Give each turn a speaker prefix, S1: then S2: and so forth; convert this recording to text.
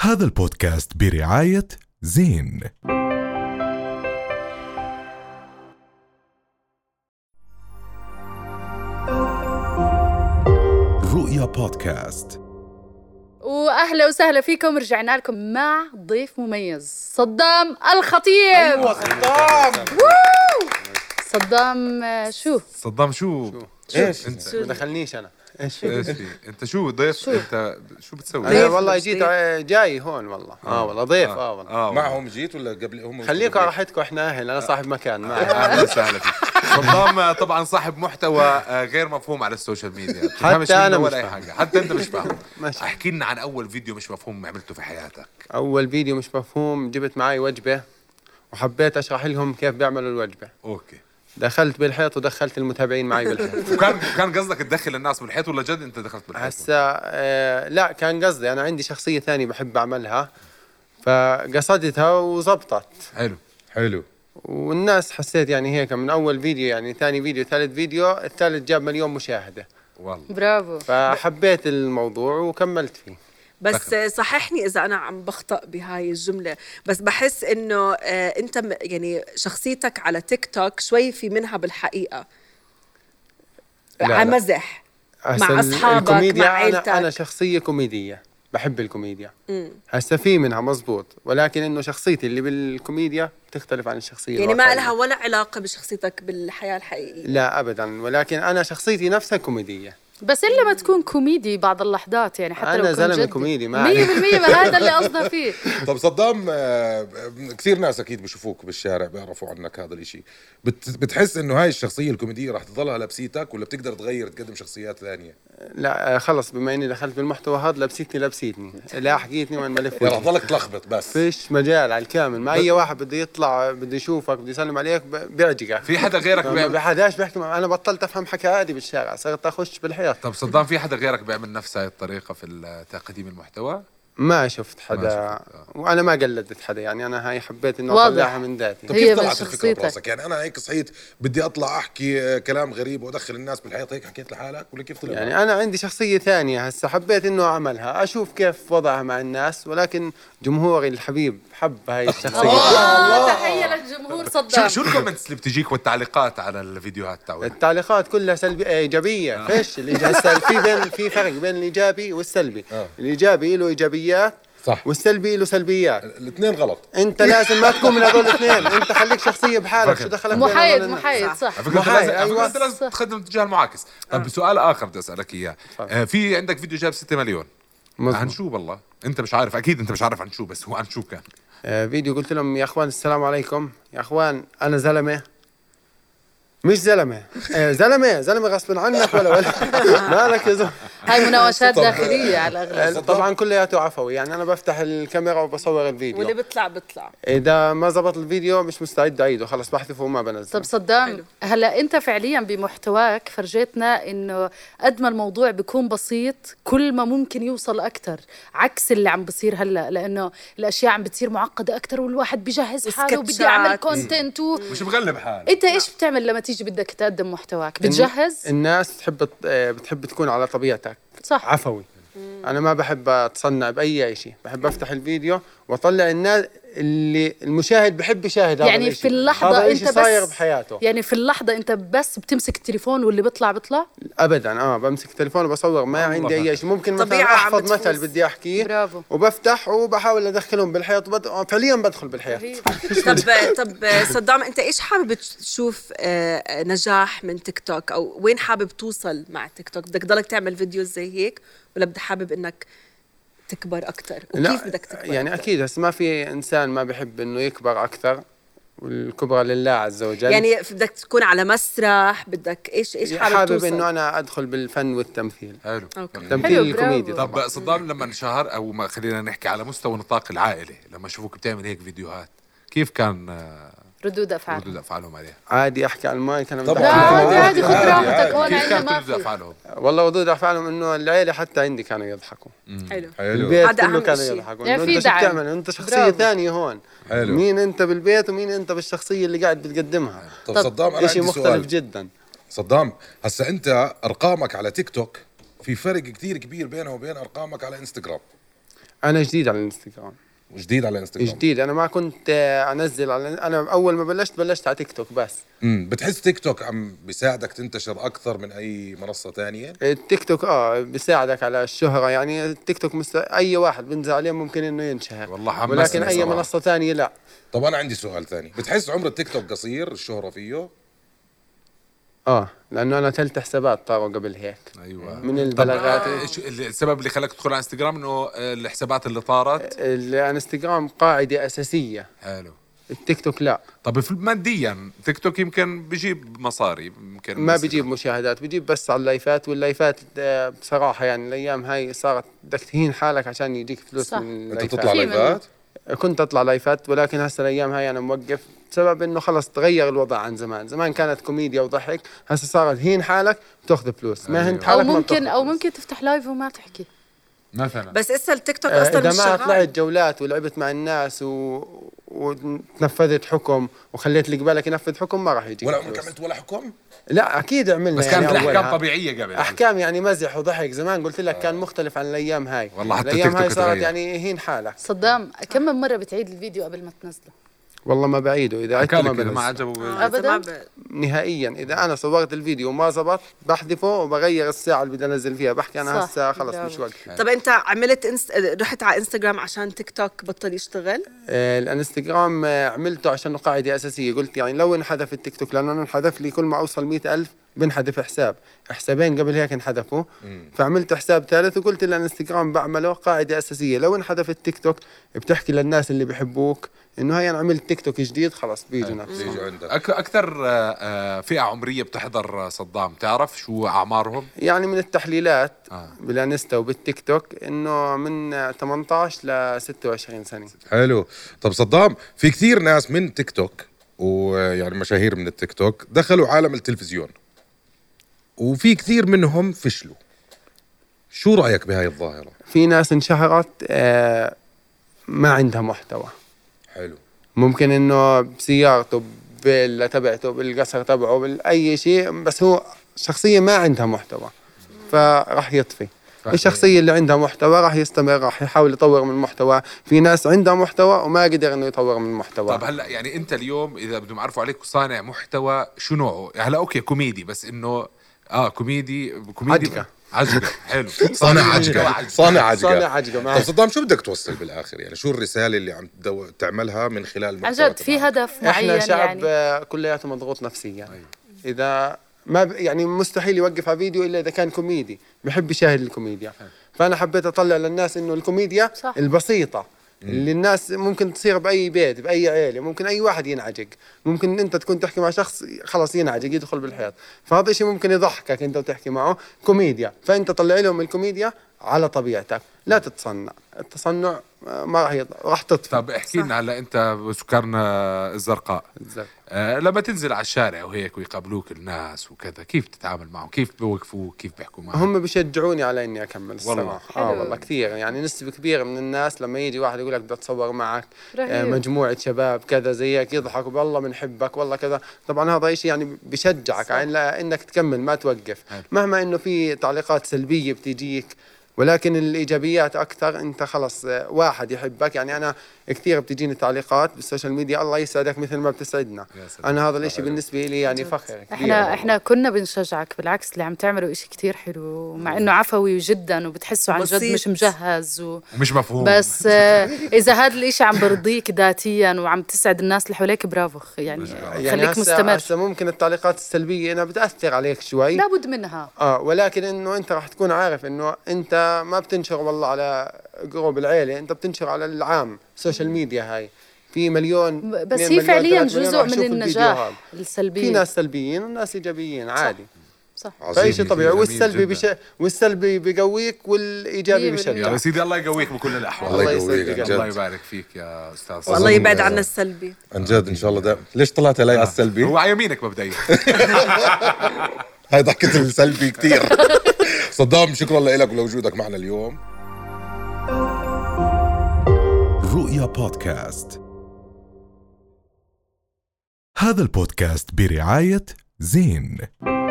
S1: هذا البودكاست برعاية زين رؤيا بودكاست
S2: واهلا وسهلا فيكم رجعنا لكم مع ضيف مميز صدام الخطيب
S3: ايوه صدام
S2: صدام آه، شو
S4: صدام شو؟
S3: ايش
S4: انت
S3: ما دخلنيش انا ايش
S4: ايش في؟ انت شو ضيف؟ انت شو بتسوي؟
S3: انا
S2: ضيف
S3: والله
S2: بس
S3: جيت
S2: ضيف.
S3: آه، جاي هون والله اه والله ضيف اه والله
S4: اه معهم
S5: معهم جيت ولا قبل هم
S3: خليكم على راحتكم احنا اهل انا صاحب مكان ما
S4: اهلا وسهلا آه، فيك صدام آه، طبعا صاحب محتوى آه، غير مفهوم على السوشيال ميديا ما بتفهمش
S3: أنا
S4: منه
S3: مش
S4: ولا اي حاجه حتى انت مش فاهم
S3: ماشي.
S4: احكي لنا عن اول فيديو مش مفهوم عملته في حياتك
S3: اول فيديو مش مفهوم جبت معي وجبه وحبيت اشرح لهم كيف بيعملوا الوجبه
S4: اوكي
S3: دخلت بالحيط ودخلت المتابعين معي بالحيط
S4: وكان كان قصدك تدخل الناس بالحيط ولا جد انت دخلت بالحيط؟
S3: هسا آه لا كان قصدي انا عندي شخصيه ثانيه بحب اعملها فقصدتها وزبطت
S4: حلو
S5: حلو
S3: والناس حسيت يعني هيك من اول فيديو يعني ثاني فيديو ثالث فيديو الثالث جاب مليون مشاهده
S4: والله
S2: برافو
S3: فحبيت الموضوع وكملت فيه
S6: بس صححني اذا انا عم بخطا بهاي الجمله بس بحس انه آه، انت م- يعني شخصيتك على تيك توك شوي في منها بالحقيقه
S3: لا.
S6: على مزح
S3: هسا ال-
S6: أصحابك،
S3: الكوميديا
S6: مع عيلتك.
S3: أنا, أنا شخصية كوميدية بحب الكوميديا هسا في منها مزبوط ولكن إنه شخصيتي اللي بالكوميديا بتختلف عن الشخصية
S6: يعني ما
S3: الواقعية.
S6: لها ولا علاقه بشخصيتك بالحياه الحقيقيه
S3: لا أبدا ولكن أنا شخصيتي نفسها كوميدية
S2: بس الا ما تكون كوميدي بعض اللحظات يعني حتى
S3: أنا
S2: لو
S3: زلمة كوميدي، ما
S2: 100%
S3: عليك.
S2: ما هذا اللي قصده فيه
S5: طب صدام آه، كثير ناس اكيد بشوفوك بالشارع بيعرفوا عنك هذا الاشي بت بتحس انه هاي الشخصيه الكوميديه راح تضلها لبسيتك ولا بتقدر تغير تقدم شخصيات ثانيه
S3: لا آه، خلص بما إني دخلت بالمحتوى هذا لبستني لبستني لا حكيتني وين ما
S5: يعني راح
S3: لفيت
S5: تضلك تلخبط بس
S3: فيش مجال على الكامل ما أي واحد بده يطلع بده يشوفك بده يسلم عليك ب- بيعجقك
S4: في حدا غيرك
S3: ما
S4: بيعمل
S3: بحداش بيحكي مع- أنا بطلت أفهم حكي عادي بالشارع صرت أخش بالحياة
S4: طب صدام في حدا غيرك بيعمل نفس هاي الطريقه في ال- تقديم المحتوى؟
S3: ما شفت حدا
S4: ما شفت،
S3: وانا ما قلدت حدا يعني انا هاي حبيت انه
S2: واضح.
S3: اطلعها من ذاتي
S5: طب
S2: هي
S5: كيف
S2: بس
S5: طلعت الفكره
S2: شخصيتك.
S5: براسك يعني انا هيك صحيت بدي اطلع احكي آه، كلام غريب وادخل الناس بالحيط هيك حكيت لحالك ولا كيف طلع
S3: يعني انا عندي شخصيه ثانيه هسه حبيت انه اعملها اشوف كيف وضعها مع الناس ولكن جمهوري الحبيب حب هاي الشخصيه
S2: آه، تحيه للجمهور
S4: شو
S2: صدام
S4: شو الكومنتس اللي بتجيك والتعليقات على الفيديوهات تاعك؟
S3: التعليقات كلها سلبي ايجابيه فيش الإيج- هسه في بين في فرق بين الايجابي والسلبي
S5: آه.
S3: الايجابي له ايجابيات
S5: صح
S3: والسلبي له سلبيات
S5: الاثنين غلط
S3: انت لازم ما تكون من هذول الاثنين انت خليك شخصيه بحالك شو دخلك بين هذول
S2: محايد
S3: الناس؟
S2: محايد صح
S4: على فكره انت
S3: محايد،
S4: لازم على فكرة
S3: أيوة.
S4: انت لازم تتقدم اتجاه المعاكس
S5: آه.
S4: طب سؤال اخر بدي اسالك اياه آه في عندك فيديو جاب 6 مليون
S3: مظبوط.
S4: عن شو والله انت مش عارف اكيد انت مش عارف عن شو بس هو عن شو كان
S3: آه، فيديو قلت لهم يا اخوان السلام عليكم يا اخوان انا زلمه مش زلمه آه، زلمه زلمه غصب عنك ولا ولا مالك يا زلمه
S2: هاي مناوشات داخليه على الاغلب
S3: آه، طبعا كلياته عفوي يعني انا بفتح الكاميرا وبصور
S6: واللي
S3: الفيديو
S6: بيطلع بيطلع
S3: اذا ما زبط الفيديو مش مستعد اعيده خلص بحذفه وما بنزل
S2: طب صدام هلا انت فعليا بمحتواك فرجيتنا انه قد ما الموضوع بيكون بسيط كل ما ممكن يوصل اكثر عكس اللي عم بصير هلا لانه الاشياء عم بتصير معقده اكثر والواحد بجهز حاله
S6: وسكتشات.
S2: وبدي اعمل كونتنت و...
S4: مش مغلب حالك
S2: انت ايش بتعمل لما تيجي بدك تقدم محتواك بتجهز
S3: الناس تحب الط- آه، بتحب تكون على طبيعتك
S2: صح
S3: عفوي انا ما بحب اتصنع باي شيء بحب افتح الفيديو واطلع الناس اللي المشاهد بحب يشاهد هذا
S2: يعني في
S3: الإشي.
S2: اللحظه
S3: هذا
S2: انت
S3: إشي صاير
S2: بس
S3: بحياته
S2: يعني في اللحظه انت بس بتمسك التليفون واللي بيطلع بيطلع
S3: ابدا اه بمسك التليفون وبصور ما عندي اي شيء ممكن مثلا
S6: طبيعة عم
S3: احفظ مثل
S6: بتفوز.
S3: بدي احكيه
S2: برافو.
S3: وبفتح وبحاول ادخلهم بالحيط وبد... آه، فعليا بدخل بالحيط
S6: طب طب صدام انت ايش حابب تشوف آه، نجاح من تيك توك او وين حابب توصل مع تيك توك بدك تضلك تعمل فيديوز زي هيك ولا بدك حابب انك تكبر اكثر وكيف بدك تكبر
S3: يعني
S6: أكتر؟
S3: اكيد هسه ما في انسان ما بحب انه يكبر اكثر والكبرى لله عز وجل
S6: يعني بدك تكون على مسرح بدك ايش ايش حابب,
S3: حابب
S6: توصل؟
S3: انه انا ادخل بالفن والتمثيل
S4: حلو
S6: أوكي.
S3: تمثيل
S2: حلو، برافو.
S3: الكوميدي طبعا
S4: طب صدام لما انشهر او ما خلينا نحكي على مستوى نطاق العائله لما شافوك بتعمل هيك فيديوهات كيف كان آه،
S2: ردود افعال
S4: ردود افعالهم عليها؟
S3: عادي احكي على المايك انا
S5: طبعاً.
S2: لا
S3: متأكد.
S2: عادي عادي خذ
S5: عادي،
S2: راحتك
S5: عادي.
S2: هون
S4: كيف
S2: عندنا
S4: كانت
S2: ما
S4: ردود
S2: في
S4: افعالهم؟
S3: والله ردود افعالهم انه العيله حتى عندي كانوا يضحكوا
S6: حلو
S5: حلو
S3: البيت
S6: هذا
S3: كله
S6: أهم
S3: كانوا
S6: شيء.
S3: يضحكوا
S2: يعني في
S3: إنه انت شو
S2: دعم.
S3: بتعمل انت شخصيه
S2: برافو.
S3: ثانيه هون
S5: حلو.
S3: مين انت بالبيت ومين انت بالشخصيه اللي قاعد بتقدمها
S5: طب صدام انا
S3: شيء
S5: عندي
S3: مختلف
S5: سؤال
S3: جدا
S5: صدام هسا انت ارقامك على تيك توك في فرق كتير كبير بينها وبين ارقامك على انستغرام
S3: انا جديد على الانستغرام
S5: جديد على انستغرام
S3: جديد انا ما كنت آه، انزل على انا اول ما بلشت بلشت على تيك توك بس
S5: امم بتحس تيك توك عم بيساعدك تنتشر اكثر من اي منصه تانية
S3: التيك توك اه بيساعدك على الشهرة يعني التيك توك مست... اي واحد بنزل عليه ممكن انه ينشهر
S4: والله حمسني
S3: ولكن اي
S4: صراحة.
S3: منصة ثانية لا
S5: طب انا عندي سؤال ثاني بتحس عمر التيك توك قصير الشهره فيه
S4: آه.
S3: اه لانه انا ثلث حسابات طاروا قبل هيك
S4: ايوه
S3: من البلاغات
S4: ايش السبب اللي خلاك تدخل على انستغرام انه الحسابات اللي طارت
S3: الانستغرام قاعدة اساسية
S4: حلو
S3: التيك توك لا
S4: طب في- ماديا تيك توك يمكن بجيب مصاري يمكن
S3: ما
S4: بس-
S3: بجيب مشاهدات بجيب بس على اللايفات واللايفات آه، بصراحة يعني الايام هاي صارت بدك تهين حالك عشان يجيك فلوس
S2: صح.
S3: من اللايفات.
S5: انت بتطلع
S2: في
S5: لايفات
S3: كنت اطلع لايفات ولكن هسه الايام هاي انا موقف بسبب انه خلص تغير الوضع عن زمان زمان كانت كوميديا وضحك هسه صارت هين حالك بتاخذ فلوس ما
S4: أيوه.
S3: هنت
S2: او
S3: حالك ما
S2: ممكن
S3: بتاخذ
S2: او
S3: فلوس.
S2: ممكن تفتح لايف وما تحكي
S4: مثلا
S6: بس اسا التيك توك
S3: آه،
S6: اصلا
S3: اذا
S6: مش
S3: ما
S6: شغال
S3: طلعت جولات ولعبت مع الناس و... وتنفذت حكم وخليت اللي قبالك ينفذ حكم ما راح يجيك
S5: ولا
S3: فلوس.
S5: عمرك عملت ولا حكم
S3: لا اكيد عملنا
S4: بس كانت
S3: يعني
S4: الاحكام
S3: أولها.
S4: طبيعيه قبل
S3: احكام يعني مزح وضحك زمان قلت لك كان مختلف عن الايام هاي
S4: والله حتى
S3: الايام
S4: التيك
S3: هاي
S4: توك
S3: صارت
S4: تغير.
S3: يعني هين حالك
S2: صدام كم من مره بتعيد الفيديو قبل ما تنزله
S3: والله ما بعيده اذا عدت
S4: كان
S3: ما
S4: لك إذا ما
S3: بنزل
S4: عجبه
S6: آه، إذا ما
S2: أبداً.
S6: ب-
S3: نهائيا اذا انا صورت الفيديو وما زبط بحذفه وبغير الساعه اللي بدي انزل فيها بحكي انا
S2: صح،
S3: هسه خلص
S2: برافو.
S3: مش وقت
S6: طب انت عملت انس... رحت على انستغرام عشان تيك توك بطل يشتغل
S3: آه، الانستغرام آه، عملته عشانه قاعده اساسيه قلت يعني لو انحذف التيك توك لانه انا انحذف لي كل ما اوصل مئة ألف بنحذف حساب حسابين قبل هيك انحذفوا فعملت حساب ثالث وقلت الانستغرام بعمله قاعده اساسيه لو انحذف التيك توك بتحكي للناس اللي بحبوك انه هاي انا عملت تيك توك جديد خلص بيجوا نفسهم
S5: بيجوا عندك
S4: أك اكثر آه، آه، فئه عمريه بتحضر آه، صدام تعرف شو اعمارهم
S3: يعني من التحليلات
S4: آه.
S3: آه. بالانستا وبالتيك توك انه من 18 ل 26 سنه
S5: حلو طب صدام في كثير ناس من تيك توك ويعني مشاهير من التيك توك دخلوا عالم التلفزيون وفي كثير منهم فشلوا شو رايك بهاي الظاهره
S3: في ناس انشهرت آه ما عندها محتوى
S5: حلو
S3: ممكن انه بسيارته بالفيلا تبعته بالقصر تبعه باي شيء بس هو شخصيه ما عندها محتوى فراح يطفي الشخصية اللي عندها محتوى راح يستمر راح يحاول يطور من محتوى في ناس عندها محتوى وما قدر انه يطور من محتوى
S4: طب هلا يعني انت اليوم اذا بدهم يعرفوا عليك صانع محتوى شو نوعه هلا اوكي كوميدي بس انه اه كوميدي كوميدي
S3: عجقة.
S4: عجقه حلو
S5: صانع عجقه صانع عجقه
S3: صانع عجقة، معك.
S5: طب صدام شو بدك توصل بالاخر يعني شو الرساله اللي عم تدو- تعملها من خلال
S2: عن
S5: المحتوى
S2: جد في
S5: تبعك؟
S2: هدف معين
S3: احنا شعب
S2: يعني
S3: يعني. كلياته مضغوط نفسيا اذا ما ب... يعني مستحيل يوقف على فيديو الا اذا كان كوميدي بحب يشاهد الكوميديا فانا حبيت اطلع للناس انه الكوميديا
S2: صح.
S3: البسيطه اللي الناس ممكن تصير باي بيت باي عيله ممكن اي واحد ينعجق ممكن انت تكون تحكي مع شخص خلاص ينعجق يدخل بالحيط فهذا الشيء ممكن يضحكك انت وتحكي معه كوميديا فانت طلع لهم الكوميديا على طبيعتك لا تتصنع التصنع آه، ما راح يض... راح تطفى
S4: طب احكي لنا هلا انت سكرنا الزرقاء
S3: بالزبط.
S4: آه لما تنزل على الشارع وهيك ويقابلوك الناس وكذا كيف تتعامل معهم كيف بوقفوك كيف بيحكوا معك
S3: هم بيشجعوني على اني اكمل
S4: والله.
S3: الصراحه اه
S2: حلو.
S3: والله كثير يعني نسبه كبيره من الناس لما يجي واحد يقول لك بدي اتصور معك
S2: رهيب.
S3: آه، مجموعه شباب كذا زيك يضحكوا والله بنحبك والله كذا طبعا هذا شيء يعني بشجعك على انك تكمل ما توقف مهما انه في تعليقات سلبيه بتجيك ولكن الايجابيات اكثر انت خلص آه، واحد يحبك يعني انا كثير بتجيني تعليقات بالسوشيال ميديا الله يسعدك مثل ما بتسعدنا
S4: يا سلام.
S3: انا هذا الشيء بالنسبه لي يعني فخر كبير
S2: احنا
S3: والله.
S2: احنا كنا بنشجعك بالعكس اللي عم تعمله إشي كتير حلو مع انه عفوي جدا وبتحسه عن جد
S6: بسيط.
S2: مش مجهز و...
S4: ومش مفهوم
S2: بس آه، اذا هذا الإشي عم برضيك ذاتيا وعم تسعد الناس اللي حواليك برافو أخي، يعني خليك
S3: هسا-
S2: مستمر
S3: هسا ممكن التعليقات السلبيه انها بتاثر عليك شوي
S2: لابد منها
S3: اه ولكن انه انت راح تكون عارف انه انت ما بتنشر والله على جروب العيله انت بتنشر على العام سوشيال ميديا هاي في مليون
S2: بس
S3: اثنين
S2: هي
S3: مليون،
S2: فعليا
S3: ثلاث مليون
S2: جزء
S3: راح
S2: من
S3: يشوفوا الفيديو هذا.
S2: النجاح
S3: في
S2: السلبي
S3: ناس سلبيين وناس ايجابيين عادي
S2: صح
S5: عظيم
S3: فأي
S5: يا
S3: شيء
S5: سيدي،
S3: طبيعي
S4: جميل
S3: والسلبي
S4: جداً.
S3: بش... والسلبي بيقويك والايجابي
S2: مية بالمية.
S4: يا
S3: بشجعك
S4: سيدي الله يقويك بكل الاحوال
S5: الله
S3: يسعدك.
S5: يقويك عن
S4: الله
S5: جد
S4: يبارك فيك يا استاذ صدام.
S6: والله
S5: أظن-
S6: يبعد عنا السلبي
S5: عن جد ان شاء الله دائما ليش طلعت علي على السلبي؟
S4: هو على يمينك مبدئيا
S5: هاي ضحكة السلبي كثير صدام شكرا لك ولوجودك معنا اليوم
S1: رؤيا بودكاست هذا البودكاست برعاية زين